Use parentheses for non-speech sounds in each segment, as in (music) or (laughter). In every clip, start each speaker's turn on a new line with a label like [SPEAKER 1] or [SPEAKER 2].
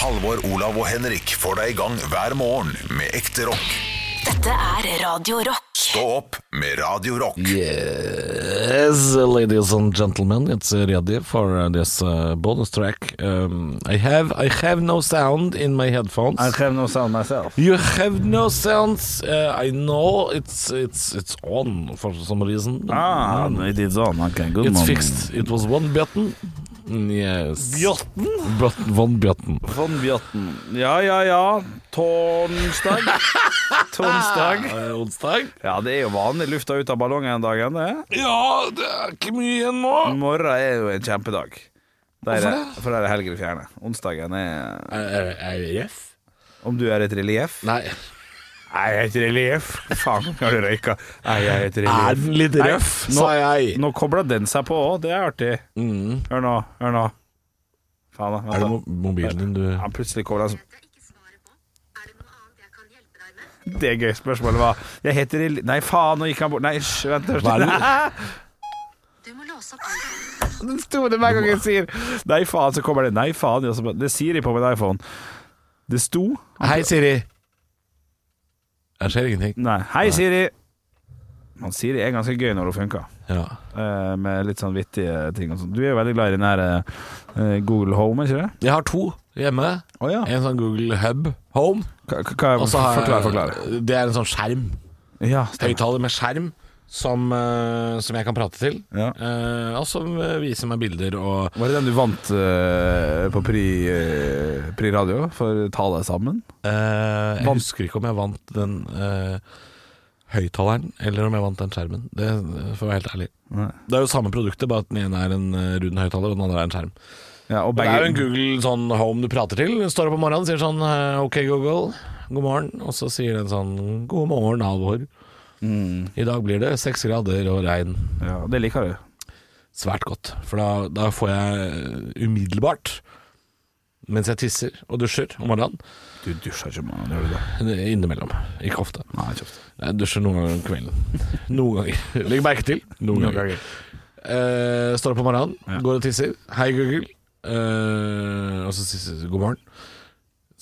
[SPEAKER 1] Halvor, Olav og Henrik får deg i gang hver morgen med ekte rock.
[SPEAKER 2] Dette er Radio Rock.
[SPEAKER 1] Stå opp med Radio Rock.
[SPEAKER 3] Yes, ladies and gentlemen, it's ready for uh, this uh, bonus track. Um, I have I have no sound in my headphones.
[SPEAKER 4] I have no sound myself.
[SPEAKER 3] You have no sounds. Uh, I know it's it's it's on for some reason. Mm.
[SPEAKER 4] Ah, it is on. Okay, good
[SPEAKER 3] It's
[SPEAKER 4] morning.
[SPEAKER 3] fixed. It was one button. Yes. Button, one
[SPEAKER 4] (laughs)
[SPEAKER 3] button.
[SPEAKER 4] Von Bjørten. Sånn, Ja, ja, ja.
[SPEAKER 3] (laughs)
[SPEAKER 4] Tonsdag. Tonsdag.
[SPEAKER 3] Eh, onsdag.
[SPEAKER 4] Ja, det er jo vanlig lufta ut av ballongen den dagen, det.
[SPEAKER 3] Ja, det er ikke mye igjen nå.
[SPEAKER 4] Morgen er jo en kjempedag. Der er,
[SPEAKER 3] Hvorfor
[SPEAKER 4] For der er helger i fjerne. Onsdagen er
[SPEAKER 3] Eh, Er, er, er det ref?
[SPEAKER 4] Om du er et relieff?
[SPEAKER 3] Nei.
[SPEAKER 4] Nei, jeg er et relieff. Faen, har du røyka? Nei, jeg er et
[SPEAKER 3] Er
[SPEAKER 4] relieff.
[SPEAKER 3] den litt
[SPEAKER 4] Nei,
[SPEAKER 3] røff,
[SPEAKER 4] nå-
[SPEAKER 3] sa jeg. Mm.
[SPEAKER 4] Nå kobler den seg på òg, det er artig. Hør nå, hør nå. Faen, da.
[SPEAKER 3] Er det
[SPEAKER 4] vent da.
[SPEAKER 3] mo- mobilen din du
[SPEAKER 4] Han plutselig kobler seg
[SPEAKER 5] dette ikke svaret på. Er det noe annet jeg kan hjelpe deg med?
[SPEAKER 4] Det gøy spørsmålet var Jeg heter Il... Nei, faen, nå gikk han bort Nei, hysj, vent hysj.
[SPEAKER 3] Hva er det?
[SPEAKER 5] Du må låse opp iPhonen.
[SPEAKER 4] Den store hver gang jeg sier Nei, faen, så kommer det Nei, faen jeg også bare- Det sier de på min iPhone Det sto
[SPEAKER 3] Hei, Siri. Det skjer ingenting.
[SPEAKER 4] Nei, hei Siri Man Siri er ganske gøy når det funker
[SPEAKER 3] Ja.
[SPEAKER 4] eh, Med litt sånn vittige ting og sånt Du er jo veldig glad i den her eh, Google Home, ikke det?
[SPEAKER 3] Jeg har to hjemme.
[SPEAKER 4] Åja
[SPEAKER 3] En sånn Google Hub Home. Og så har jeg-
[SPEAKER 4] Forklar, forklar
[SPEAKER 3] Det er en sånn skjerm.
[SPEAKER 4] Ja, stemmer
[SPEAKER 3] Høyttaler med skjerm. Som, eh, som jeg kan prate til.
[SPEAKER 4] Ja.
[SPEAKER 3] Eh, og som eh, viser meg bilder og
[SPEAKER 4] Var det den du vant eh, på Pri, eh, Pri Radio For tale sammen?
[SPEAKER 3] eh, Jeg
[SPEAKER 4] Vant-
[SPEAKER 3] husker ikke om jeg vant den eh, høyttaleren, eller om jeg vant den skjermen. Det eh, for å være helt ærlig.
[SPEAKER 4] Nei.
[SPEAKER 3] Det er jo samme produktet, bare at den ene er en eh, rund høyttaler, og den andre er en skjerm.
[SPEAKER 4] Ja, og
[SPEAKER 3] Det
[SPEAKER 4] begge
[SPEAKER 3] er jo en Google sånn Home du prater til. Den står opp om morgenen og sier sånn eh, OK, Google, god morgen. Og så sier den sånn God morgen, Halvor. I dag blir det seks grader og regn.
[SPEAKER 4] Ja, det liker du
[SPEAKER 3] Svært godt. For da, da får jeg eh, umiddelbart, mens jeg tisser og dusjer om morgenen
[SPEAKER 4] Du dusjer ikke med gjør du det?
[SPEAKER 3] Innimellom. Ikke ofte.
[SPEAKER 4] Nei, ikke ofte.
[SPEAKER 3] Jeg dusjer noen ganger om kvelden. Noen ganger. (laughs) Legg merke til. Noen ganger. Eh, står opp om morgenen, går og tisser. Hei, Google. Eh, og så sier god morgen.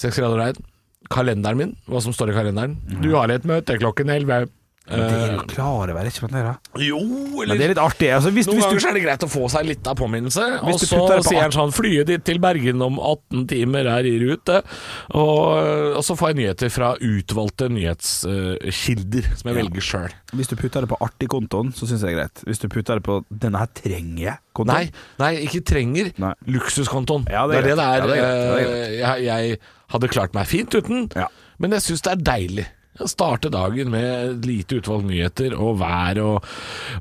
[SPEAKER 3] Seks grader og regn. Kalenderen min, hva som står i kalenderen. Du har et møte klokken elleve. Eh,
[SPEAKER 4] klarer vel ikke på det, da.
[SPEAKER 3] jo,
[SPEAKER 4] Men det
[SPEAKER 3] eller
[SPEAKER 4] er litt artig. Altså, hvis,
[SPEAKER 3] noen
[SPEAKER 4] hvis
[SPEAKER 3] ganger
[SPEAKER 4] du,
[SPEAKER 3] så er det greit å få seg litt av påminnelse. Og
[SPEAKER 4] Hvis du
[SPEAKER 3] så
[SPEAKER 4] putter det på
[SPEAKER 3] sier
[SPEAKER 4] at-
[SPEAKER 3] han sånn Flyet ditt til Bergen om 18 timer er i rute. Og, og så får jeg nyheter fra utvalgte nyhetskilder som jeg velger sjøl.
[SPEAKER 4] hvis du putter det på artig-kontoen, så syns jeg det er greit. Hvis du putter det på 'denne her trenger jeg'-kontoen
[SPEAKER 3] Nei, nei, ikke trenger.
[SPEAKER 4] Nei.
[SPEAKER 3] Luksuskontoen.
[SPEAKER 4] Ja, det
[SPEAKER 3] det er
[SPEAKER 4] er
[SPEAKER 3] det det
[SPEAKER 4] greit.
[SPEAKER 3] er.
[SPEAKER 4] Ja, det er greit. Ja, det
[SPEAKER 3] Eh,
[SPEAKER 4] er
[SPEAKER 3] Jeg, jeg hadde klart meg fint uten,
[SPEAKER 4] Ja.
[SPEAKER 3] men jeg syns det er deilig. å Starte dagen med et lite utvalg nyheter og vær og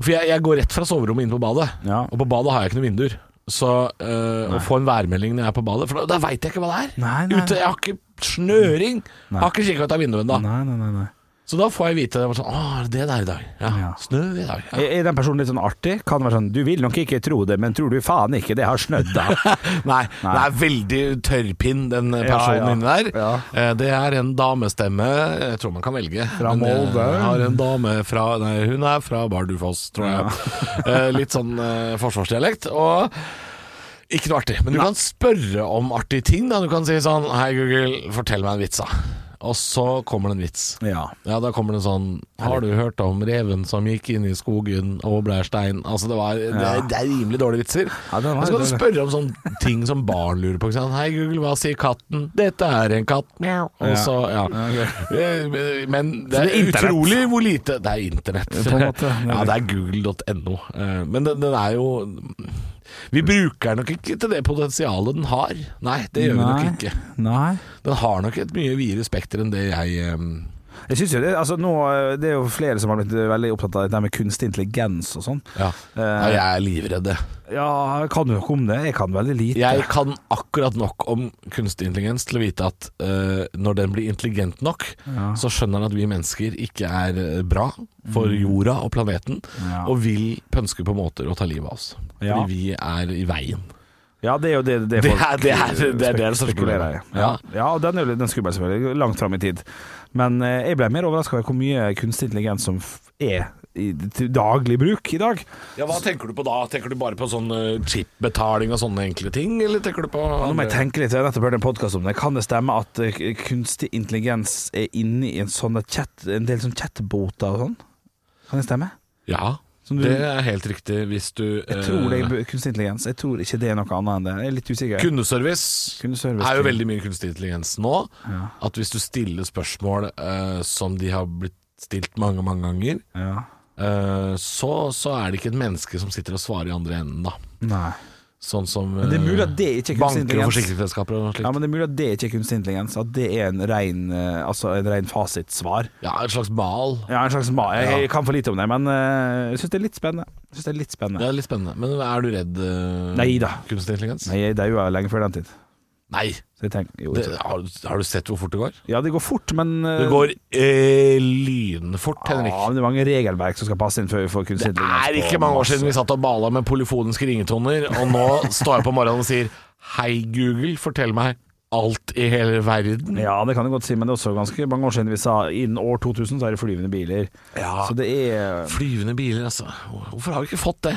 [SPEAKER 3] For jeg, jeg går rett fra soverommet inn på badet,
[SPEAKER 4] Ja.
[SPEAKER 3] og på badet har jeg ikke noen vinduer. Så eh, å få en værmelding når jeg er på badet For da, da veit jeg ikke hva det er.
[SPEAKER 4] Nei, nei,
[SPEAKER 3] Ute, Jeg har ikke snøring. Jeg har ikke kikka ut av vinduet ennå.
[SPEAKER 4] Nei, nei, nei, nei.
[SPEAKER 3] Så da får jeg vite det. Sånn, Å, det er det i dag. Ja,
[SPEAKER 4] Ja.
[SPEAKER 3] Snø i dag. Ja.
[SPEAKER 4] Er er den personen litt sånn artig? Kan være sånn 'Du vil nok ikke tro det, men tror du faen ikke det har snødd', da.
[SPEAKER 3] Nei, det er veldig tørrpinn, den eh, personen
[SPEAKER 4] ja.
[SPEAKER 3] inni der.
[SPEAKER 4] Ja.
[SPEAKER 3] Eh, Det er en damestemme, jeg tror man kan velge.
[SPEAKER 4] Fra
[SPEAKER 3] Men, eh,
[SPEAKER 4] Molde.
[SPEAKER 3] Har en dame fra Nei, hun er fra Bardufoss, tror jeg. Eh, Litt sånn eh, forsvarsdialekt. Og ikke noe artig. Men du kan spørre om artige ting. Da. Du kan si sånn Hei, Google, fortell meg en vits, da. Og så kommer det en vits.
[SPEAKER 4] Ja.
[SPEAKER 3] Ja, da kommer det en sånn Har du hørt om reven som gikk inn i skogen og ble stein? Altså, det, var, det, er- det er rimelig dårlige vitser.
[SPEAKER 4] Ja, den var
[SPEAKER 3] Men så kan du
[SPEAKER 4] dårlig.
[SPEAKER 3] spørre om sånne ting som barn lurer på. Ikke sant? Hei, Google, hva sier katten? Dette er en katt. Mjau. Og så, ja. Eh, Men det er,
[SPEAKER 4] det er internett.
[SPEAKER 3] utrolig hvor lite Det er internett.
[SPEAKER 4] på en måte.
[SPEAKER 3] Ja, det er google.no. Eh, Men den, den er jo Vi bruker den nok ikke til det potensialet den har. Nei, (laughs) det gjør vi nok ikke.
[SPEAKER 4] Nei.
[SPEAKER 3] Den har nok et mye videre spekter enn det jeg eh,
[SPEAKER 4] Jeg synes jo det, altså, nå, eh, det er jo flere som har blitt eh, veldig opptatt av dette med kunstig intelligens og sånn.
[SPEAKER 3] Ja.
[SPEAKER 4] Eh,
[SPEAKER 3] jeg er livredd. jeg.
[SPEAKER 4] Ja, kan du noe om det? Jeg kan veldig lite.
[SPEAKER 3] Jeg kan akkurat nok om kunstig intelligens til å vite at eh, når den blir intelligent nok, så skjønner den at vi mennesker ikke er eh, bra for jorda og planeten,
[SPEAKER 4] Mm. Ja.
[SPEAKER 3] og vil pønske på måter å ta livet av oss. Fordi
[SPEAKER 4] Ja.
[SPEAKER 3] vi er i veien.
[SPEAKER 4] Ja, det er jo det det,
[SPEAKER 3] Det
[SPEAKER 4] folk
[SPEAKER 3] er- det er- det er det
[SPEAKER 4] spek-
[SPEAKER 3] det største
[SPEAKER 4] spekulerer i.
[SPEAKER 3] problemet.
[SPEAKER 4] Ja. ja, og den er jo litt- den skummel selvfølgelig, langt fram i tid. Men eh, jeg ble mer overraska over hvor mye kunstig intelligens som f- er i, til daglig bruk i dag.
[SPEAKER 3] Ja, Hva tenker du på da? Tenker du bare på sånn eh, chipbetaling og sånne enkle ting, eller tenker du på
[SPEAKER 4] Nå må jeg
[SPEAKER 3] andre-
[SPEAKER 4] tenke litt, jeg har nettopp hørt en podcast om det. Kan det stemme at eh, kunstig intelligens er inne i en, sånn chat, en del sånn chatboter og sånn? Kan det stemme?
[SPEAKER 3] Ja,
[SPEAKER 4] Som du-
[SPEAKER 3] det er helt riktig hvis du
[SPEAKER 4] Jeg tror det
[SPEAKER 3] eh,
[SPEAKER 4] er kunstig intelligens. Jeg tror ikke det er noe annet enn det. Jeg er litt usikker.
[SPEAKER 3] Kundeservice,
[SPEAKER 4] Kundeservice,
[SPEAKER 3] er jo
[SPEAKER 4] ja.
[SPEAKER 3] veldig mye kunstig intelligens nå. At hvis du stiller spørsmål eh, som de har blitt stilt mange, mange ganger,
[SPEAKER 4] Ja.
[SPEAKER 3] eh, så, så er det ikke et menneske som sitter og svarer i andre enden, da.
[SPEAKER 4] Nei.
[SPEAKER 3] Sånn som
[SPEAKER 4] Men det er
[SPEAKER 3] eh,
[SPEAKER 4] mulig at det ikke er kunstig
[SPEAKER 3] banker og
[SPEAKER 4] intelligens.
[SPEAKER 3] forsikringsselskaper og
[SPEAKER 4] Ja,
[SPEAKER 3] slikt.
[SPEAKER 4] men det er mulig at det ikke er kunstig intelligens. At det er en ren, eh, altså en ren fasitsvar.
[SPEAKER 3] Ja, et slags mal.
[SPEAKER 4] Ja, en slags ma jeg,
[SPEAKER 3] Ja.
[SPEAKER 4] jeg kan for lite om det, men eh, jeg syns det er litt spennende. Jeg synes det er litt
[SPEAKER 3] Det
[SPEAKER 4] spennende.
[SPEAKER 3] er litt spennende. Men er du redd eh,
[SPEAKER 4] Neida.
[SPEAKER 3] kunstig intelligens?
[SPEAKER 4] Nei, jeg daua lenge før den tid.
[SPEAKER 3] Nei.
[SPEAKER 4] Så jeg tenker, jo,
[SPEAKER 3] Det,
[SPEAKER 4] jeg tror-
[SPEAKER 3] har, du- har du sett hvor fort det går?
[SPEAKER 4] ja, det går fort, men eh,
[SPEAKER 3] Det går eh, lynfort, Henrik.
[SPEAKER 4] Ja, men det er mange regelverk som skal passe inn før vi får kunstig
[SPEAKER 3] Det
[SPEAKER 4] intelligens.
[SPEAKER 3] er
[SPEAKER 4] på
[SPEAKER 3] ikke mange år
[SPEAKER 4] masse.
[SPEAKER 3] siden vi satt og bala med polyfoniske ringetoner, og nå står jeg på morgenen og sier Hei, Google, fortell meg alt i hele verden.
[SPEAKER 4] Ja, det kan jeg godt si, men det er også ganske mange år siden vi sa innen år 2000 så er det flyvende biler.
[SPEAKER 3] Ja.
[SPEAKER 4] Så det er
[SPEAKER 3] Flyvende biler, altså. Hvorfor har vi ikke fått det?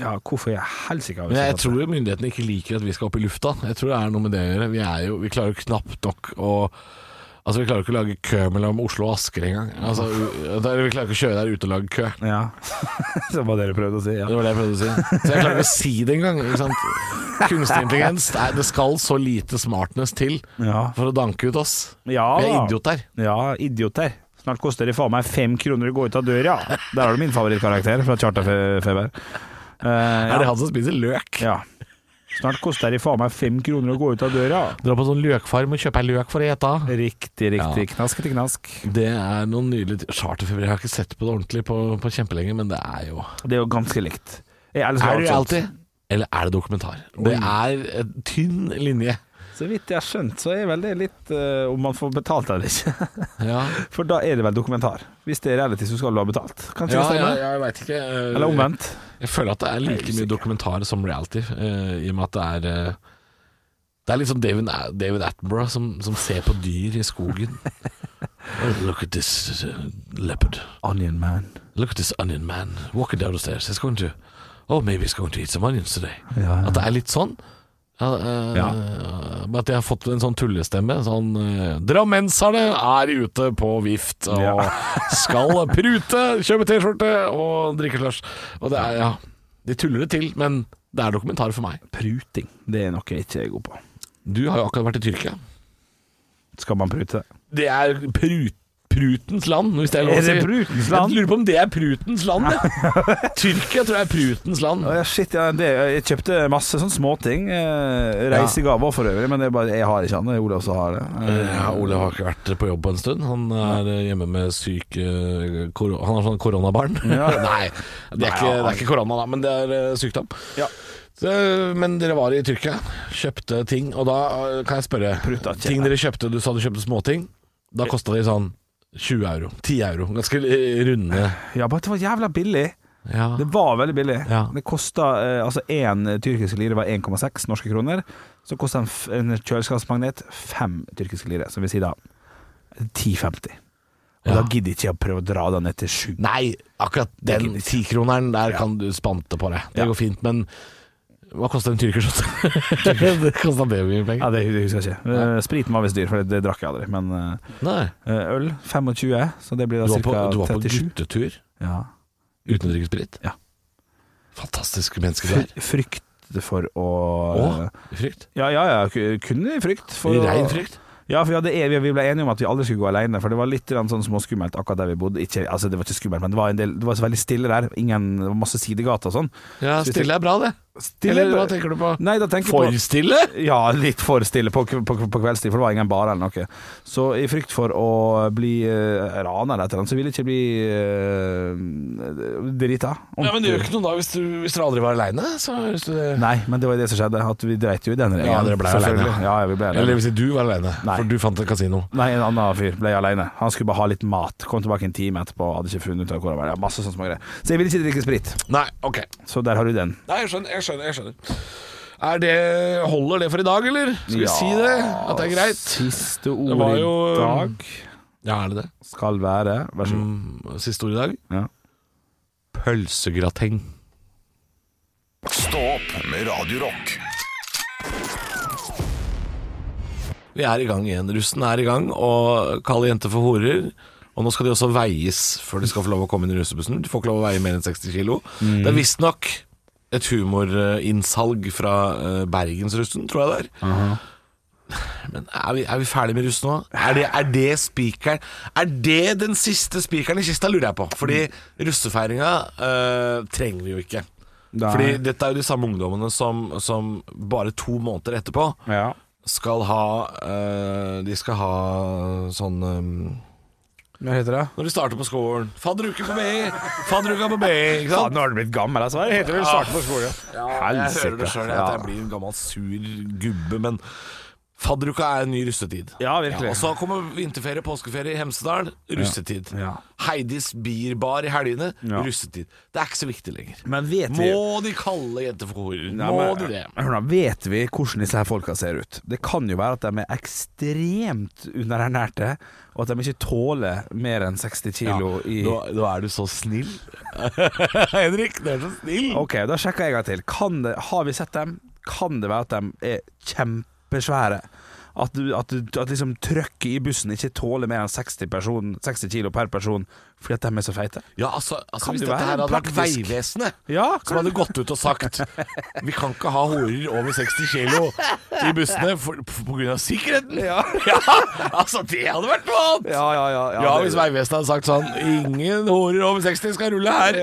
[SPEAKER 4] Ja, hvorfor jeg helsike har vi
[SPEAKER 3] Men jeg
[SPEAKER 4] ikke fått
[SPEAKER 3] tror jo myndighetene ikke liker at vi skal opp i lufta. Jeg tror det er noe med det å gjøre. Vi, er jo, vi klarer jo knapt nok å Altså, vi klarer jo ikke å lage kø mellom Oslo og Asker engang. Altså, u- da- vi klarer ikke å kjøre der ute og lage kø.
[SPEAKER 4] det? Ja. (laughs) det var det du prøvde å si, ja.
[SPEAKER 3] Det var det jeg prøvde å si. Så jeg klarer ikke å si det engang. ikke sant? Kunstig intelligens, det er- det skal så lite smartness til
[SPEAKER 4] Ja,
[SPEAKER 3] for å danke ut oss.
[SPEAKER 4] ja
[SPEAKER 3] Vi er
[SPEAKER 4] da.
[SPEAKER 3] idioter.
[SPEAKER 4] Ja, idioter. Snart koster det faen meg fem kroner å gå ut av døra. Der har du min favorittkarakter fra Charterfeber. Uh,
[SPEAKER 3] Er det
[SPEAKER 4] ja.
[SPEAKER 3] han som spiser løk?
[SPEAKER 4] ja. Snart koster det faen meg fem kroner å gå ut av døra.
[SPEAKER 3] Dra på sånn løkfarm og kjøpe ei løk for å ete.
[SPEAKER 4] Riktig, riktig. Knask til knask.
[SPEAKER 3] Det er noen nydelige t- Charterfeber. Jeg har ikke sett på det ordentlig på, på kjempelenge, men det er jo
[SPEAKER 4] Det er jo ganske likt. Jeg elsker
[SPEAKER 3] Er det
[SPEAKER 4] alt sånt.
[SPEAKER 3] reality, eller er det dokumentar? Det er en tynn linje.
[SPEAKER 4] Så vidt jeg har skjønt, så er vel det litt eh, om man får betalt eller ikke. (laughs)
[SPEAKER 3] (laughs) Ja,
[SPEAKER 4] For da er det vel dokumentar. Hvis det er reality, så skal du ha betalt. Kanskje
[SPEAKER 3] ja,
[SPEAKER 4] det
[SPEAKER 3] ja
[SPEAKER 4] stemmer?
[SPEAKER 3] jeg veit ikke. eh,
[SPEAKER 4] Eller omvendt.
[SPEAKER 3] Jeg føler at det er
[SPEAKER 4] Jeg er
[SPEAKER 3] like mye
[SPEAKER 4] usikker.
[SPEAKER 3] dokumentar som reality, eh, i og med at det er eh, Det er litt som David, David Attenborough som, som ser på dyr i (laughs) skogen. Oh, look at this uh, leopard.
[SPEAKER 4] Onion Man.
[SPEAKER 3] Look at this onion man walking down the stairs. He's going to Oh, maybe he's going to eat some onions today.
[SPEAKER 4] Ja.
[SPEAKER 3] At det er litt sånn. Ja, eh,
[SPEAKER 4] Ja.
[SPEAKER 3] men At jeg har fått en sånn tullestemme. Sånn eh, Drammenserne er ute på vift og (laughs) skal prute, kjøpe T-skjorte og drikke slush. Og det er, ja De tuller det til, men det er dokumentar for meg.
[SPEAKER 4] Pruting. Det er noe jeg ikke er god på.
[SPEAKER 3] Du har jo akkurat vært i Tyrkia.
[SPEAKER 4] Skal man prute?
[SPEAKER 3] Det er prut, prutens land, hvis det er lov å
[SPEAKER 4] Er
[SPEAKER 3] si.
[SPEAKER 4] det prutens land?
[SPEAKER 3] Jeg lurer på om det er prutens land,
[SPEAKER 4] (laughs)
[SPEAKER 3] jeg. Tyrkia tror jeg er prutens land.
[SPEAKER 4] Å, ja, shit, ja, det, jeg kjøpte masse sånne småting. Eh, reisegaver for øvrig, men det er bare, jeg har ikke han. Det er Olav som har det. Eh,
[SPEAKER 3] Ja, Ole har ikke vært på jobb på en stund. Han er eh, hjemme med syk eh, kor Han har sånn koronabarn. (laughs) Nei, det er, ikke, det er ikke korona, da, men det er eh, sykdom.
[SPEAKER 4] Ja.
[SPEAKER 3] Så, men dere var i Tyrkia, kjøpte ting, og da eh, kan jeg spørre
[SPEAKER 4] Pruta ikke.
[SPEAKER 3] Ting dere kjøpte, Du sa du kjøpte småting. Da kosta de sånn 20 euro. 10 euro. Ganske eh, runde.
[SPEAKER 4] ja, bare det var jævla billig.
[SPEAKER 3] Ja.
[SPEAKER 4] Det var veldig billig.
[SPEAKER 3] Ja.
[SPEAKER 4] Det kosta eh, Altså, én tyrkisk lire var 1,6 norske kroner. Så kosta en, f- en kjøleskapsmagnet fem tyrkiske lire, som vil si da 10,50. Og
[SPEAKER 3] Ja.
[SPEAKER 4] da gidder ikke jeg å prøve å dra den ned til sju.
[SPEAKER 3] Nei, akkurat den tikroneren der kan du spante på deg. Det
[SPEAKER 4] Ja.
[SPEAKER 3] går fint, men hva kosta en tyrkerskjorte? det kosta det mye
[SPEAKER 4] Ja,
[SPEAKER 3] penger.
[SPEAKER 4] det husker jeg ikke. Eh, spriten var visst dyr, for det, det drakk jeg aldri. Men eh,
[SPEAKER 3] Nei.
[SPEAKER 4] øl 25, så det blir
[SPEAKER 3] Du
[SPEAKER 4] da
[SPEAKER 3] var, på,
[SPEAKER 4] ca.
[SPEAKER 3] du var på
[SPEAKER 4] 37.
[SPEAKER 3] guttetur
[SPEAKER 4] Ja.
[SPEAKER 3] uten å drikke sprit?
[SPEAKER 4] Ja.
[SPEAKER 3] Fantastiske mennesker
[SPEAKER 4] (laughs)
[SPEAKER 3] du er.
[SPEAKER 4] Fr frykt for å eh,
[SPEAKER 3] Å, i frykt.
[SPEAKER 4] Ja, ja, ja, ku- kun i frykt. For,
[SPEAKER 3] I
[SPEAKER 4] å-
[SPEAKER 3] rein frykt.
[SPEAKER 4] Ja, for vi, hadde, e- vi- vi ble enige om at vi aldri skulle gå alene, for det var litt grann sånn småskummelt akkurat der vi bodde. Ikke, altså, det var ikke skummelt, men det var, en del, det var så veldig stille der. Ingen, det var masse sidegater og sånn.
[SPEAKER 3] Ja,
[SPEAKER 4] Så hvis
[SPEAKER 3] stille er bra, det.
[SPEAKER 4] Stille-
[SPEAKER 3] Eller hva tenker du på?
[SPEAKER 4] Nei, da tenker jeg
[SPEAKER 3] For
[SPEAKER 4] på
[SPEAKER 3] stille?
[SPEAKER 4] ja, litt for stille på, på, på kveldstid, for det var ingen bar eller noe. Så i frykt for å bli uh, rana eller et eller annet, så ville jeg ikke bli uh, drita.
[SPEAKER 3] Ja, men det gjør ikke noe da hvis, du, hvis dere aldri var aleine. Eller
[SPEAKER 4] Nei, men det var jo det som skjedde, at vi dreit jo i den regelen.
[SPEAKER 3] dere ble
[SPEAKER 4] selvfølgelig.
[SPEAKER 3] alene.
[SPEAKER 4] Ja, ja, vi ble alene.
[SPEAKER 3] hvis du var aleine,
[SPEAKER 4] Nei.
[SPEAKER 3] for du fant et kasino.
[SPEAKER 4] Nei, en annen fyr ble alene. Han skulle bare ha litt mat. Kom tilbake en time etterpå, hadde ikke funnet ut av hvor han var. Ja, masse sånne små greier. Så jeg ville ikke drikke sprit.
[SPEAKER 3] Nei, ok.
[SPEAKER 4] Så der har du den.
[SPEAKER 3] Nei, jeg skjønner. jeg skjønner, jeg skjønner. Er det, Holder det for i dag, eller? Skal vi
[SPEAKER 4] Ja,
[SPEAKER 3] si det? At det er greit?
[SPEAKER 4] Siste
[SPEAKER 3] Det
[SPEAKER 4] ord
[SPEAKER 3] var
[SPEAKER 4] i
[SPEAKER 3] jo-
[SPEAKER 4] dag
[SPEAKER 3] Ja, er det det?
[SPEAKER 4] skal være Vær så god.
[SPEAKER 3] Mm, Siste ord i dag?
[SPEAKER 4] Ja.
[SPEAKER 3] pølsegrateng.
[SPEAKER 1] Stå opp med Radio Rock.
[SPEAKER 3] Vi er i gang igjen. Russen er i gang, og kaller jenter for horer. Og nå skal de også veies før de skal få lov å komme inn i russebussen. De får ikke lov å veie mer enn 60 kilo.
[SPEAKER 4] Mm.
[SPEAKER 3] Det er visstnok et humorinnsalg fra eh, Bergensrussen, tror jeg det er. Men er vi, er vi ferdige med russ nå? Er det, er det spikeren Er det den siste spikeren i kista, lurer jeg på. Fordi russefeiringa eh, trenger vi jo ikke.
[SPEAKER 4] Nei.
[SPEAKER 3] Fordi dette er jo de samme ungdommene som, som bare to måneder etterpå
[SPEAKER 4] Ja.
[SPEAKER 3] skal ha eh, De skal ha sånn eh,
[SPEAKER 4] Hva heter det?
[SPEAKER 3] Når de starter på skolen Fadderuke på B! Fadderuka (laughs) på B! Eh, Ikke
[SPEAKER 4] Ja,
[SPEAKER 3] sant?
[SPEAKER 4] nå har du blitt gammel, altså. Hva heter det? Starte på skolen. Ja,
[SPEAKER 3] Jeg hører det sjøl, at jeg blir en gammel sur gubbe, men fadderuka er en ny russetid.
[SPEAKER 4] Ja, virkelig.
[SPEAKER 3] og så kommer vinterferie, påskeferie i Hemsedal. Russetid.
[SPEAKER 4] Ja.
[SPEAKER 3] Heidis bierbar i helgene.
[SPEAKER 4] Ja.
[SPEAKER 3] Russetid. Det er ikke så viktig lenger.
[SPEAKER 4] Men vet vi
[SPEAKER 3] Må de kalle jenter for horer?
[SPEAKER 4] Nei,
[SPEAKER 3] Må
[SPEAKER 4] men-
[SPEAKER 3] de det?
[SPEAKER 4] Hør nå, vet vi hvordan disse her folka ser ut? Det kan jo være at de er ekstremt underernærte, og at de ikke tåler mer enn 60 kilo i
[SPEAKER 3] Nå, nå er du så snill. (laughs) Henrik, du er så snill.
[SPEAKER 4] Ok, da sjekker jeg en gang til. Kan det, har vi sett dem? Kan det være at de er kjempesvære? At, du, at, du, at liksom trøkket i bussen ikke tåler mer enn 60, person, 60 kilo per person fordi at de er så feite?
[SPEAKER 3] Ja, altså, altså
[SPEAKER 4] Kan
[SPEAKER 3] Hvis
[SPEAKER 4] det
[SPEAKER 3] dette
[SPEAKER 4] være
[SPEAKER 3] her hadde vært
[SPEAKER 4] praktisk?
[SPEAKER 3] Vegvesenet,
[SPEAKER 4] Ja,
[SPEAKER 3] som hadde gått ut og sagt Vi kan ikke ha horer over 60 kilo i bussene for- på på grunn av sikkerheten. (laughs) Ja. altså Det hadde vært noe annet!
[SPEAKER 4] Ja, ja, ja.
[SPEAKER 3] Ja, hvis Vegvesenet hadde sagt sånn Ingen horer over 60 skal rulle her.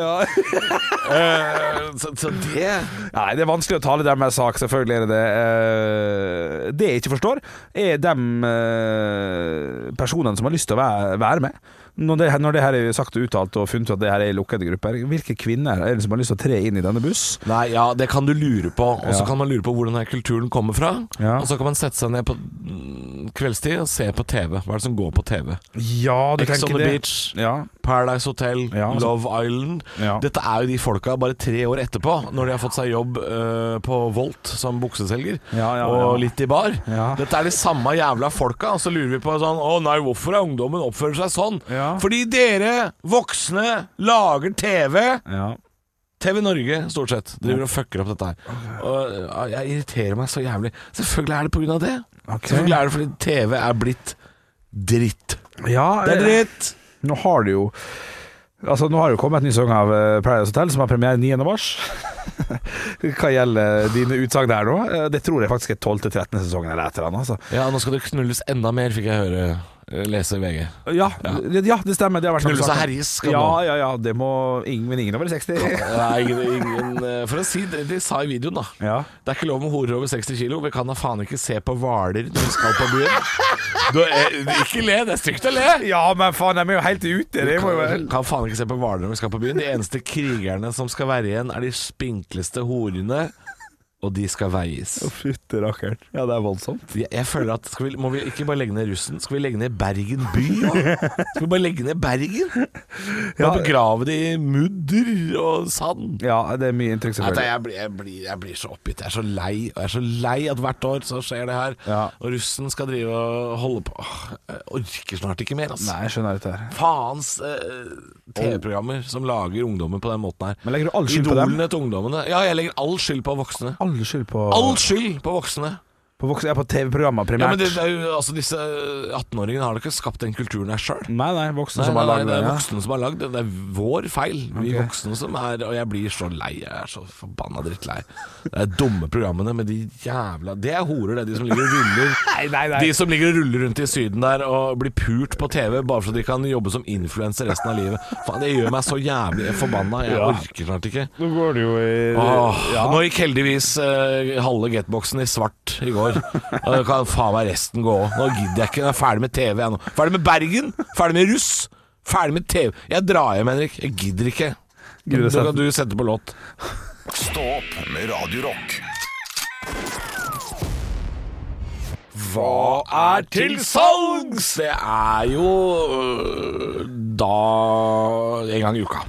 [SPEAKER 3] Eh, så, så det
[SPEAKER 4] Nei, det er vanskelig å tale deres sak, selvfølgelig er det det. Eh, Det jeg ikke forstår, er de eh, personene som har lyst til å være, være med. Når det, når det her er sagt og uttalt og funnet ut at det her er i lukkede grupper, hvilke kvinner er det som har lyst til å tre inn i denne buss?
[SPEAKER 3] Nei, ja, det kan du lure på. Og så
[SPEAKER 4] Ja.
[SPEAKER 3] kan man lure på hvor den her kulturen kommer fra.
[SPEAKER 4] Ja.
[SPEAKER 3] Og så kan man sette seg ned på mm, kveldstid og se på TV. Hva er det som går på TV?
[SPEAKER 4] Ja, du
[SPEAKER 3] Ex on
[SPEAKER 4] tenker
[SPEAKER 3] the
[SPEAKER 4] det.
[SPEAKER 3] beach.
[SPEAKER 4] Ja,
[SPEAKER 3] Paradise Hotel,
[SPEAKER 4] Ja, altså-
[SPEAKER 3] Love Island.
[SPEAKER 4] Ja.
[SPEAKER 3] Dette er jo de folka bare tre år etterpå, når de har fått seg jobb eh, på Volt som bukseselger,
[SPEAKER 4] Ja, ja,
[SPEAKER 3] og
[SPEAKER 4] ja.
[SPEAKER 3] litt i bar.
[SPEAKER 4] Ja.
[SPEAKER 3] Dette er de samme jævla folka, og så lurer vi på sånn Å nei, hvorfor er ungdommen oppfører seg sånn?
[SPEAKER 4] Ja.
[SPEAKER 3] Fordi dere voksne lager TV.
[SPEAKER 4] ja.
[SPEAKER 3] TV Norge, stort sett, driver og fucker opp dette her. Og ja, jeg irriterer meg så jævlig. Selvfølgelig er det på grunn av det.
[SPEAKER 4] Ok.
[SPEAKER 3] Selvfølgelig er det fordi TV er blitt dritt.
[SPEAKER 4] ja
[SPEAKER 3] Det er
[SPEAKER 4] eh,
[SPEAKER 3] dritt!
[SPEAKER 4] Nå har det jo Altså, nå har det jo kommet en ny sang av eh, Paradise Hotel, som har premiere 9. mars. (laughs) Hva gjelder dine utsagn her nå? eh, Det tror jeg faktisk er 12. til 13. sesongen eller et eller annet. Altså.
[SPEAKER 3] Ja, nå skal det knulles enda mer, fikk jeg høre eh, lese i VG.
[SPEAKER 4] Ja, ja. det stemmer. Det har vært
[SPEAKER 3] Knullelse
[SPEAKER 4] snakket om.
[SPEAKER 3] herjes skal
[SPEAKER 4] ja,
[SPEAKER 3] nå.
[SPEAKER 4] ja, ja. Det må ingen, men ingen over 60.
[SPEAKER 3] Nei, ingen, ingen eh, For å si det de sa i videoen, da.
[SPEAKER 4] (laughs) Ja.
[SPEAKER 3] Det er ikke lov med horer over 60 kilo. Vi kan da faen ikke se på hvaler når vi skal på byen. (laughs) Du, eh, ikke le, det er stygt å le.
[SPEAKER 4] ja, men faen, de er jo helt ute. Det må jo være
[SPEAKER 3] Kan faen ikke se på hvaler når vi skal på byen. De eneste krigerne som skal være igjen, er de spinkleste horene. Og de skal veies.
[SPEAKER 4] Fytti rakkeren. Ja, det er voldsomt.
[SPEAKER 3] Jeg jeg føler at skal vi, Må vi ikke bare legge ned russen? Skal vi legge ned Bergen by òg? Skal vi bare legge ned Bergen? Bare begrave det i mudder og sand?
[SPEAKER 4] Ja, det er mye inntrykk,
[SPEAKER 3] Nei,
[SPEAKER 4] selvfølgelig.
[SPEAKER 3] jeg, blir, jeg, blir, jeg blir så oppgitt. Jeg er så lei Og jeg er så lei at hvert år så skjer det her.
[SPEAKER 4] Ja.
[SPEAKER 3] Og russen skal drive og holde på Åh, Jeg orker snart ikke mer, altså.
[SPEAKER 4] Nei, jeg skjønner dette her.
[SPEAKER 3] Faens eh, TV-programmer som lager ungdommer på den måten her.
[SPEAKER 4] Men legger du all skyld på dem?
[SPEAKER 3] Idolene til ungdommene. Ja, jeg legger all skyld på voksne.
[SPEAKER 4] All skyld på,
[SPEAKER 3] All skyld på voksne!
[SPEAKER 4] på, voksne- ja, på TV-programmer
[SPEAKER 3] Ja,
[SPEAKER 4] primært.
[SPEAKER 3] men det, det er jo, altså Disse 18-åringene har da ikke skapt den kulturen her sjøl.
[SPEAKER 4] Nei, nei, voksne
[SPEAKER 3] Nei,
[SPEAKER 4] som
[SPEAKER 3] nei,
[SPEAKER 4] har
[SPEAKER 3] nei,
[SPEAKER 4] lagd
[SPEAKER 3] det
[SPEAKER 4] det.
[SPEAKER 3] er
[SPEAKER 4] ja.
[SPEAKER 3] voksne som har lagd det. Det er vår feil. Vi
[SPEAKER 4] Ok.
[SPEAKER 3] voksne som er Og jeg blir så lei. Jeg er så forbanna drittlei. Det er dumme programmene med de jævla Det er horer, det. De som ligger og
[SPEAKER 4] (laughs)
[SPEAKER 3] ruller
[SPEAKER 4] Nei, nei, nei.
[SPEAKER 3] De som ligger og ruller rundt i Syden der og blir pult på TV bare så de kan jobbe som influenser resten av livet. Faen, det gjør meg så jævlig forbanna. Jeg orker snart ikke.
[SPEAKER 4] Nå går det jo i
[SPEAKER 3] Åh,
[SPEAKER 4] Ah.
[SPEAKER 3] Nå gikk heldigvis eh, halve getboxen i svart i går. Og det kan faen meg resten gå òg. Nå gidder jeg ikke. Jeg er ferdig med TV jeg nå. Ferdig med Bergen. Ferdig med russ. Ferdig med TV. Jeg drar hjem, Henrik. Jeg gidder ikke.
[SPEAKER 4] Gud,
[SPEAKER 3] Da
[SPEAKER 4] det
[SPEAKER 3] kan du sette på låt.
[SPEAKER 1] Stå opp med Radio Rock.
[SPEAKER 3] Hva er til salgs? Det er jo øh, da en gang i uka.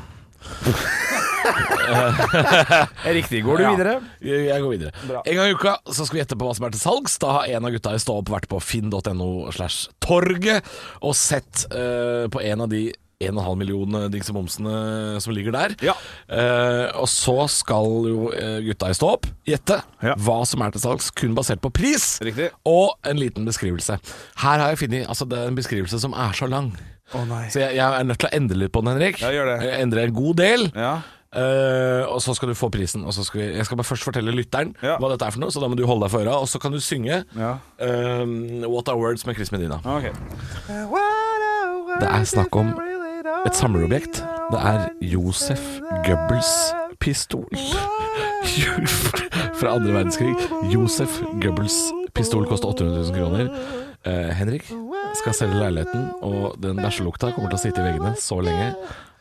[SPEAKER 4] Riktig. Går du
[SPEAKER 3] Ja.
[SPEAKER 4] videre?
[SPEAKER 3] Jeg jeg går videre. En gang i uka så skal vi gjette på hva som er til salgs. Da har en av gutta i Stå opp vært på finn.no slash torget og sett eh, på en av de 1,5 millioner dingser momsene som ligger der.
[SPEAKER 4] Ja.
[SPEAKER 3] Eh, og så skal jo eh, gutta i stå opp gjette
[SPEAKER 4] Ja.
[SPEAKER 3] hva som er til salgs, kun basert på pris.
[SPEAKER 4] Riktig.
[SPEAKER 3] Og en liten beskrivelse. Her har jeg funnet altså, det er en beskrivelse som er så lang.
[SPEAKER 4] Å nei.
[SPEAKER 3] Så jeg, jeg er nødt til å endre litt på den, Henrik.
[SPEAKER 4] Ja, gjør det.
[SPEAKER 3] Jeg endrer en god del.
[SPEAKER 4] Ja.
[SPEAKER 3] Eh, og så skal du få prisen. Og så skal vi, jeg skal bare først fortelle lytteren
[SPEAKER 4] Ja.
[SPEAKER 3] hva dette er for noe, så da må du holde deg for øra. Og så kan du synge
[SPEAKER 4] Ja.
[SPEAKER 3] eh, What Are Words med Chris Medina.
[SPEAKER 4] Ok.
[SPEAKER 3] Det er snakk om et samlerobjekt. Det er Josef Goebbels pistol. (laughs) Fra andre verdenskrig. Josef Goebbels pistol koster 800 000 kroner. Eh, Henrik skal selge leiligheten, og den bæsjelukta kommer til å sitte i veggene så lenge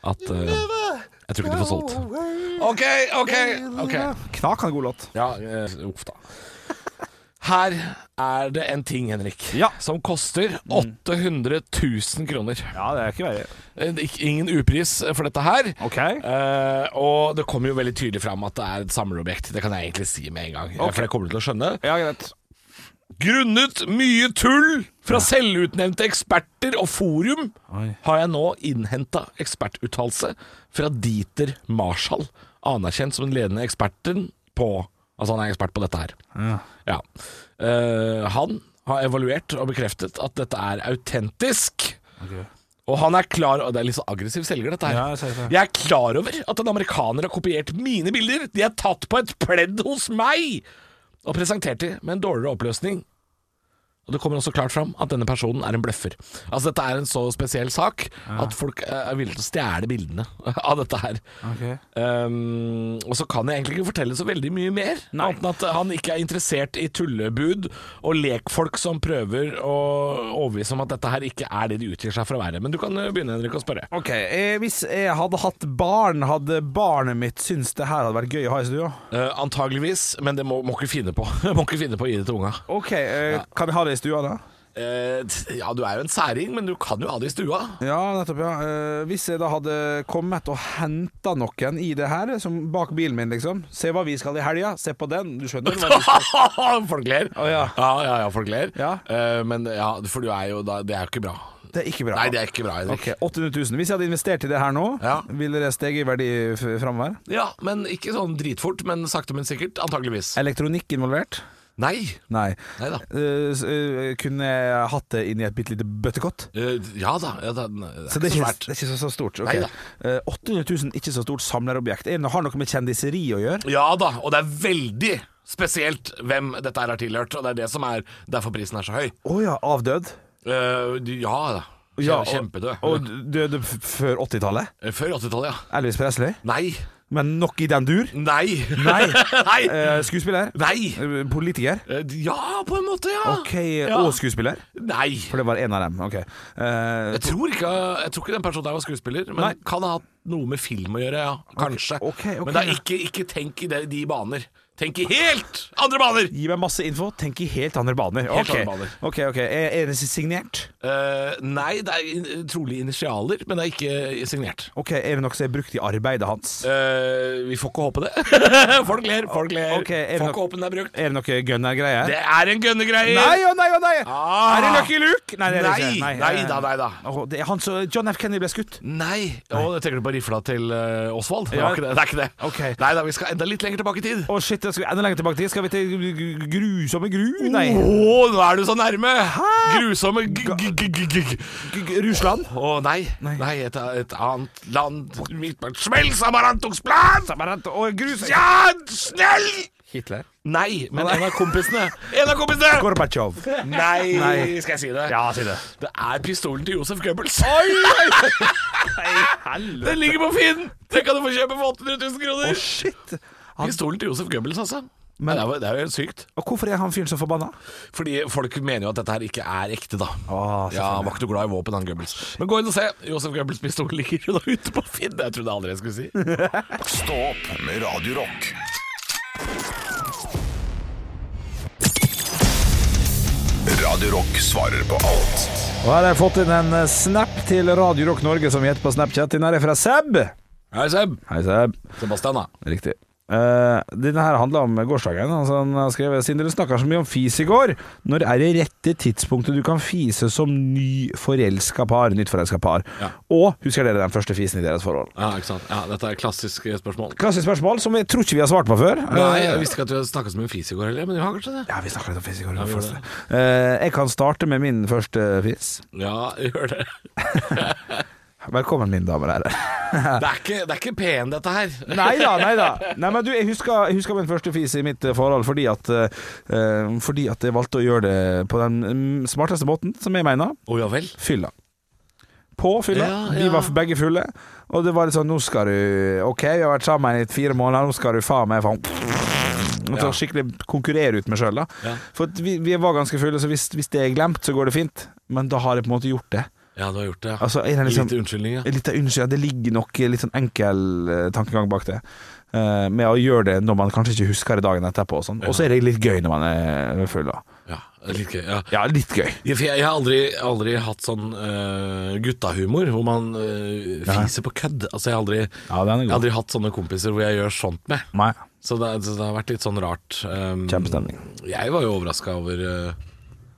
[SPEAKER 3] at eh, jeg tror ikke du får solgt. OK, OK, OK.
[SPEAKER 4] Knak er en god låt.
[SPEAKER 3] Ja, eh, uff da. Her er det en ting, Henrik,
[SPEAKER 4] Ja. Mm.
[SPEAKER 3] som koster 800 000 kroner.
[SPEAKER 4] Ja, det er ikke verre.
[SPEAKER 3] Eh, ikk- Ingen upris for dette her.
[SPEAKER 4] Ok.
[SPEAKER 3] Eh, og det kommer jo veldig tydelig fram at det er et samlerobjekt. Det kan jeg egentlig si med en gang. eh,
[SPEAKER 4] Ok.
[SPEAKER 3] For det kommer du til å skjønne.
[SPEAKER 4] Ja, greit.
[SPEAKER 3] Grunnet mye tull fra selvutnevnte eksperter og forum
[SPEAKER 4] Oi.
[SPEAKER 3] har jeg nå innhenta ekspertuttalelse fra Dieter Marshall, anerkjent som den ledende eksperten på Altså, han er ekspert på dette her.
[SPEAKER 4] Ja.
[SPEAKER 3] Ja. Eh, han har evaluert og bekreftet at dette er autentisk. Og han er klar Og det er litt så aggressiv selger, dette her.
[SPEAKER 4] Ja, jeg ser det.
[SPEAKER 3] Jeg er klar over at en amerikaner har kopiert mine bilder. De er tatt på et pledd hos meg! Og presentert de med en dårligere oppløsning. Og Det kommer også klart fram at denne personen er en bløffer. Altså Dette er en så spesiell sak at folk eh, er villige til å stjele bildene (laughs) av dette her.
[SPEAKER 4] Ok.
[SPEAKER 3] Um, og så kan jeg egentlig ikke fortelle så veldig mye mer,
[SPEAKER 4] Nei.
[SPEAKER 3] annet enn at han ikke er interessert i tullebud og lekfolk som prøver å overbevise om at dette her ikke er det de utgir seg for å være. Men du kan eh, begynne, Henrik, å spørre.
[SPEAKER 4] Ok, eh, Hvis jeg hadde hatt barn, hadde barnet mitt syntes det her hadde vært gøy å ha i stua?
[SPEAKER 3] Eh, antageligvis, men det må, må ikke finne på. (laughs) må ikke finne på å gi det til unga.
[SPEAKER 4] Ok, eh, Kan jeg ha det i stua, da?
[SPEAKER 3] Eh, t- ja, du er jo en særing, men du kan jo ha det i stua. (laughs)
[SPEAKER 4] Ja, nettopp. ja eh, Hvis jeg da hadde kommet og henta noen i det her, som bak bilen min, liksom. Se hva vi skal i helga, se på den. Du skjønner? hva vi
[SPEAKER 3] (laughs)
[SPEAKER 4] skal-
[SPEAKER 3] folk ler.
[SPEAKER 4] Å, ja.
[SPEAKER 3] ja, ja, ja, folk ler.
[SPEAKER 4] Ja.
[SPEAKER 3] Eh, men ja, for du er jo da Det er jo ikke bra.
[SPEAKER 4] Det er ikke bra.
[SPEAKER 3] Nei, det er ikke bra, Henrik.
[SPEAKER 4] Ok, 800 000. Hvis jeg hadde investert i det her nå,
[SPEAKER 3] Ja.
[SPEAKER 4] ville det steget i verdi f- framover?
[SPEAKER 3] Ja, men ikke sånn dritfort, men sakte, men sikkert. Antageligvis.
[SPEAKER 4] Eh. Elektronikk involvert?
[SPEAKER 3] Nei.
[SPEAKER 4] Nei.
[SPEAKER 3] Nei da.
[SPEAKER 4] Eh, s- eh, kunne jeg hatt det inni et bitte lite bøttekott?
[SPEAKER 3] Eh, ja da. Ja, da nei, det
[SPEAKER 4] Så
[SPEAKER 3] er
[SPEAKER 4] det
[SPEAKER 3] ikke så
[SPEAKER 4] er ikke,
[SPEAKER 3] svært.
[SPEAKER 4] det er ikke så, så stort. ok.
[SPEAKER 3] Neida.
[SPEAKER 4] Eh, 800 000, ikke så stort samlerobjekt. Er det noe- Har noe med kjendiseri å gjøre?
[SPEAKER 3] Ja da, og det er veldig spesielt hvem dette her har tilhørt, og det er det som er derfor prisen er så høy.
[SPEAKER 4] Å ja, avdød?
[SPEAKER 3] Eh, du- ja da. Kjem-
[SPEAKER 4] Ja, og-
[SPEAKER 3] Kjempedød.
[SPEAKER 4] Og døde f før 80-tallet?
[SPEAKER 3] Eh, Før 80-tallet, ja.
[SPEAKER 4] Elvis Presley?
[SPEAKER 3] Nei.
[SPEAKER 4] Men nok i den dur?
[SPEAKER 3] Nei.
[SPEAKER 4] Nei.
[SPEAKER 3] (laughs) Nei.
[SPEAKER 4] Eh, skuespiller?
[SPEAKER 3] Nei.
[SPEAKER 4] Eh, Politiker?
[SPEAKER 3] Eh, Ja, på en måte, ja.
[SPEAKER 4] Ok,
[SPEAKER 3] Ah,
[SPEAKER 4] eh,
[SPEAKER 3] Ja.
[SPEAKER 4] Og skuespiller?
[SPEAKER 3] Nei.
[SPEAKER 4] For det var en av dem. Ok. Eh,
[SPEAKER 3] Jeg tror, ikke, jeg tror ikke den personen der var skuespiller, men
[SPEAKER 4] Nei.
[SPEAKER 3] kan ha hatt noe med film å gjøre, ja. Kanskje.
[SPEAKER 4] ok, ok.
[SPEAKER 3] Men det er ikke, ikke tenk i det, de baner. Tenk i helt andre baner!
[SPEAKER 4] Gi meg masse info, tenk i helt andre baner.
[SPEAKER 3] Helt
[SPEAKER 4] Ok.
[SPEAKER 3] andre baner.
[SPEAKER 4] Ok, ok Er er det signert?
[SPEAKER 3] Eh, nei, det er in trolig initialer, men det er ikke signert.
[SPEAKER 4] Ok, Er det noe som er brukt i arbeidet hans?
[SPEAKER 3] Eh, vi får ikke håpe det. (laughs) folk ler, folk ler.
[SPEAKER 4] Ok, er
[SPEAKER 3] får
[SPEAKER 4] det nok-
[SPEAKER 3] ikke håpe den er brukt.
[SPEAKER 4] Er det noe gunner-greier?
[SPEAKER 3] Det er en gønnegreie!
[SPEAKER 4] Nei og nei og nei!
[SPEAKER 3] Ah.
[SPEAKER 4] Er det Lucky Luke? Nei, det er det
[SPEAKER 3] Nei,
[SPEAKER 4] ikke.
[SPEAKER 3] nei da, nei da.
[SPEAKER 4] Åh, det er han som John F. Kennedy ble skutt.
[SPEAKER 3] Nei! Å, det tenker du på rifla til eh, Osvald? Det, var
[SPEAKER 4] Ja.
[SPEAKER 3] ikke det. det er ikke det.
[SPEAKER 4] Ok.
[SPEAKER 3] Nei da, vi skal enda litt lenger tilbake i tid.
[SPEAKER 4] Å shit, da skal vi enda lenger tilbake til Skal vi til gru- gru- grusomme gru? Nei.
[SPEAKER 3] Åh, nå er du så nærme! Grusomme g g g g g
[SPEAKER 4] G- g- Russland?
[SPEAKER 3] Å nei. nei.
[SPEAKER 4] Nei.
[SPEAKER 3] et, et annet land midt på en smell, Samarantosplan!
[SPEAKER 4] Og grus
[SPEAKER 3] Ja, snell!
[SPEAKER 4] Hitler.
[SPEAKER 3] Nei, men
[SPEAKER 4] Å, nei.
[SPEAKER 3] en av kompisene. (laughs) En av kompisene!
[SPEAKER 4] Gorbatsjov.
[SPEAKER 3] Nei,
[SPEAKER 4] Nei.
[SPEAKER 3] skal jeg si det?
[SPEAKER 4] Ja, si det.
[SPEAKER 3] Det er pistolen til Josef Goebbels.
[SPEAKER 4] Nei,
[SPEAKER 3] (laughs)
[SPEAKER 4] helvete.
[SPEAKER 3] Den ligger på Finn! Den kan du få kjøpe for 800 000
[SPEAKER 4] Å
[SPEAKER 3] kroner.
[SPEAKER 4] shit. Han,
[SPEAKER 3] Pistolen til Josef Goebbels, altså. Nei,
[SPEAKER 4] Men-
[SPEAKER 3] det, er, jo- det er jo helt sykt.
[SPEAKER 4] og hvorfor er han fyren så forbanna?
[SPEAKER 3] Fordi folk mener jo at dette her ikke er ekte, da.
[SPEAKER 4] Å, selvfølgelig.
[SPEAKER 3] ja, Han var ikke noe glad i våpen, han Goebbels. Men gå inn og se. Josef Goebbels' pistol ligger jo da ute på Finn. Jeg trodde aldri jeg skulle (laughs) si.
[SPEAKER 1] Stå opp med Radio Rock. Radio Rock svarer på alt.
[SPEAKER 4] Og her har jeg fått inn en eh, snap til Radio Rock Norge som gjetter på Snapchat. Den her er fra Seb.
[SPEAKER 3] Hei, Seb.
[SPEAKER 4] Hei, Seb.
[SPEAKER 3] Sebastian, da.
[SPEAKER 4] Riktig. Eh, denne her handler om gårsdagen. Altså, han har skrevet Siden dere snakka så mye om fis i går, når er det rette tidspunktet du kan fise som ny forelska par? Nytt forelska par.
[SPEAKER 3] Ja.
[SPEAKER 4] Og husker dere den første fisen i deres forhold?
[SPEAKER 3] Ja, ikke sant? Ja, dette er klassiske spørsmål.
[SPEAKER 4] Klassisk spørsmål som jeg tror ikke vi har svart på før.
[SPEAKER 3] Nei,
[SPEAKER 4] Eh,
[SPEAKER 3] jeg visste ikke at du hadde snakka så mye om fis i går heller, men vi har kanskje det?
[SPEAKER 4] ja, vi snakka litt om fis i går.
[SPEAKER 3] vi
[SPEAKER 4] først.
[SPEAKER 3] gjorde det.
[SPEAKER 4] Eh, jeg kan starte med min første fis.
[SPEAKER 3] Ja, gjør det.
[SPEAKER 4] Velkommen, mine damer og herrer.
[SPEAKER 3] Det er ikke, det er ikke pen, dette her.
[SPEAKER 4] Nei da, nei da. Nei, men du, jeg husker, jeg husker min første fis i mitt eh, forhold fordi at, eh, fordi at jeg valgte å gjøre det på den mm, smarteste måten, som jeg mener.
[SPEAKER 3] Å ja vel.
[SPEAKER 4] Fylla. På fylla.
[SPEAKER 3] Ja,
[SPEAKER 4] Vi
[SPEAKER 3] ja.
[SPEAKER 4] var begge fulle. Og det var litt sånn Nå skal du OK, vi har vært sammen i fire måneder, nå skal du faen meg faen Nå
[SPEAKER 3] Ja.
[SPEAKER 4] skal jeg skikkelig konkurrere ut meg sjøl, da.
[SPEAKER 3] Ja.
[SPEAKER 4] For at vi, vi var ganske fulle, så hvis, hvis det er glemt, så går det fint. Men da har jeg på en måte gjort det.
[SPEAKER 3] Ja, du har gjort det. ja.
[SPEAKER 4] Altså, er det liksom,
[SPEAKER 3] Lite unnskyldning, ja.
[SPEAKER 4] litt av unnskyld, det ligger nok litt sånn enkel eh, tankegang bak det. Eh, med å gjøre det når man kanskje ikke husker det dagen etterpå. Og sånn. Og så er det litt gøy når man er full, da.
[SPEAKER 3] ja. Litt gøy. Ja.
[SPEAKER 4] Ja, litt gøy.
[SPEAKER 3] Ja, for Jeg, jeg har aldri, aldri hatt sånn eh, guttahumor hvor man eh, fiser på kødd. Altså, jeg har aldri,
[SPEAKER 4] Ja, den er god.
[SPEAKER 3] jeg har aldri hatt sånne kompiser hvor jeg gjør sånt med.
[SPEAKER 4] Nei.
[SPEAKER 3] Så det, så det har vært litt sånn rart. Um,
[SPEAKER 4] Kjempestemning.
[SPEAKER 3] Jeg var jo overraska over eh,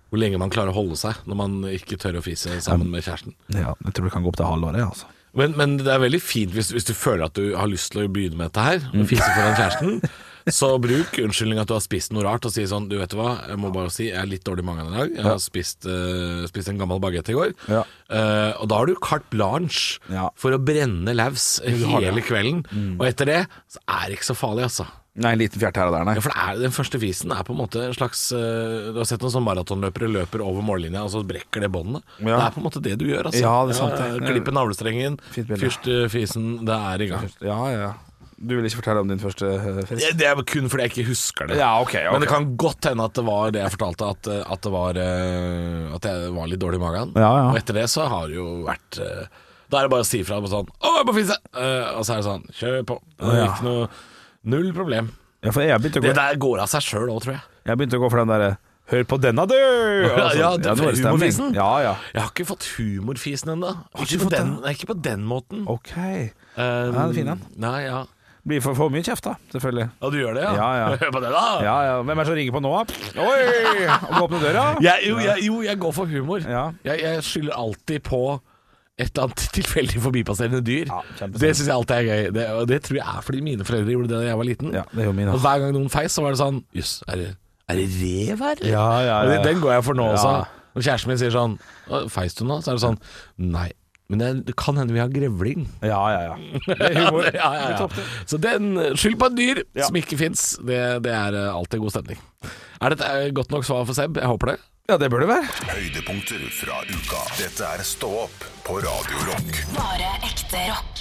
[SPEAKER 3] hvor lenge man klarer å holde seg når man ikke tør å fise sammen med kjæresten.
[SPEAKER 4] Mm. Ja, jeg tror det kan gå opp til halvåret, altså.
[SPEAKER 3] Men, men det er veldig fint hvis, hvis du føler at du har lyst til å begynne med dette her, og fise foran kjæresten. Så bruk unnskyldning at du har spist noe rart, og si sånn Du vet hva, jeg må bare si jeg er litt dårlig i magen i dag. Jeg har spist, eh, spist en gammel bagett i går.
[SPEAKER 4] Ja.
[SPEAKER 3] Eh, og da har du carte blanche
[SPEAKER 4] Ja.
[SPEAKER 3] for å brenne løs hele kvelden.
[SPEAKER 4] Mm.
[SPEAKER 3] Og etter det så er det ikke så farlig, altså.
[SPEAKER 4] Nei, en liten fjert her og der, nei.
[SPEAKER 3] Ja, for det er, Den første fisen er på en måte en slags eh, Du har sett noen sånne maratonløpere løper over mållinja, og så brekker det båndet.
[SPEAKER 4] Ja.
[SPEAKER 3] Det er på en måte det du gjør. altså
[SPEAKER 4] Ja, det er sant, det.
[SPEAKER 3] Klippe navlestrengen,
[SPEAKER 4] Fint bilde.
[SPEAKER 3] fyrste fisen, det er i gang.
[SPEAKER 4] Ja, ja. Du vil ikke fortelle om din første eh, fest?
[SPEAKER 3] Ja, Det er kun fordi jeg ikke husker det.
[SPEAKER 4] Ja, ok, ok.
[SPEAKER 3] Men det kan godt hende at det var det jeg fortalte, at, eh, at, det var, eh, at jeg var litt dårlig i magen.
[SPEAKER 4] Ja, ja.
[SPEAKER 3] Og etter det så har det jo vært eh, Da er det bare å si ifra på sånn 'Å, jeg må fise!' Eh, og så er det sånn 'Kjør på'. Det er
[SPEAKER 4] Ja.
[SPEAKER 3] ikke noe Null problem.
[SPEAKER 4] Ja, for jeg har begynt å gå,
[SPEAKER 3] Det der går av seg sjøl òg, tror jeg.
[SPEAKER 4] jeg har begynt å gå for den derre Hør på denne, (laughs) du! Altså,
[SPEAKER 3] Ja, ja, det-
[SPEAKER 4] nå er det stemning.
[SPEAKER 3] humorfisen.
[SPEAKER 4] Ja, ja.
[SPEAKER 3] Jeg har ikke fått humorfisen ennå.
[SPEAKER 4] ikke
[SPEAKER 3] Ikke, på
[SPEAKER 4] fått
[SPEAKER 3] den-
[SPEAKER 4] den?
[SPEAKER 3] nei, ikke på den måten.
[SPEAKER 4] Ok.
[SPEAKER 3] Um,
[SPEAKER 4] den er fin, den.
[SPEAKER 3] Nei, ja.
[SPEAKER 4] Blir for, for mye kjeft, da. Selvfølgelig.
[SPEAKER 3] ja, du gjør det, ja?
[SPEAKER 4] Ja, ja.
[SPEAKER 3] (laughs) Hør på det, da!
[SPEAKER 4] Ja, ja. Hvem er det som ringer på nå, da? Oi! Må åpne døra?
[SPEAKER 3] Jeg, jo, jeg, jo, jeg går for humor.
[SPEAKER 4] Ja.
[SPEAKER 3] Jeg, jeg skylder alltid på et eller annet (laughs) tilfeldig forbipasserende dyr.
[SPEAKER 4] Ja, kjempesant.
[SPEAKER 3] det syns jeg alltid er gøy. Det, og det tror jeg er fordi mine foreldre gjorde det da jeg var liten.
[SPEAKER 4] Ja, det gjorde mine.
[SPEAKER 3] Og hver gang noen feis, så var det sånn Jøss, er, det- er det rev her?
[SPEAKER 4] Ja, ja,
[SPEAKER 3] Og
[SPEAKER 4] ja.
[SPEAKER 3] det- Den går jeg for nå
[SPEAKER 4] Ja.
[SPEAKER 3] også. Når kjæresten min sier sånn «Å, Feis du nå? Så er det sånn Nei. Men det, det kan hende vi har grevling.
[SPEAKER 4] Ja, ja, ja. Det er humor.
[SPEAKER 3] (laughs) Ja, ja, ja. Så den skyld på et dyr som ikke fins, det, det er eh, alltid god stemning. Er dette eh, godt nok svar for Seb? Jeg håper det.
[SPEAKER 4] Ja, det bør det være.
[SPEAKER 1] Høydepunkter fra uka. Dette er Stå opp på Radio Rock.
[SPEAKER 2] Bare ekte rock.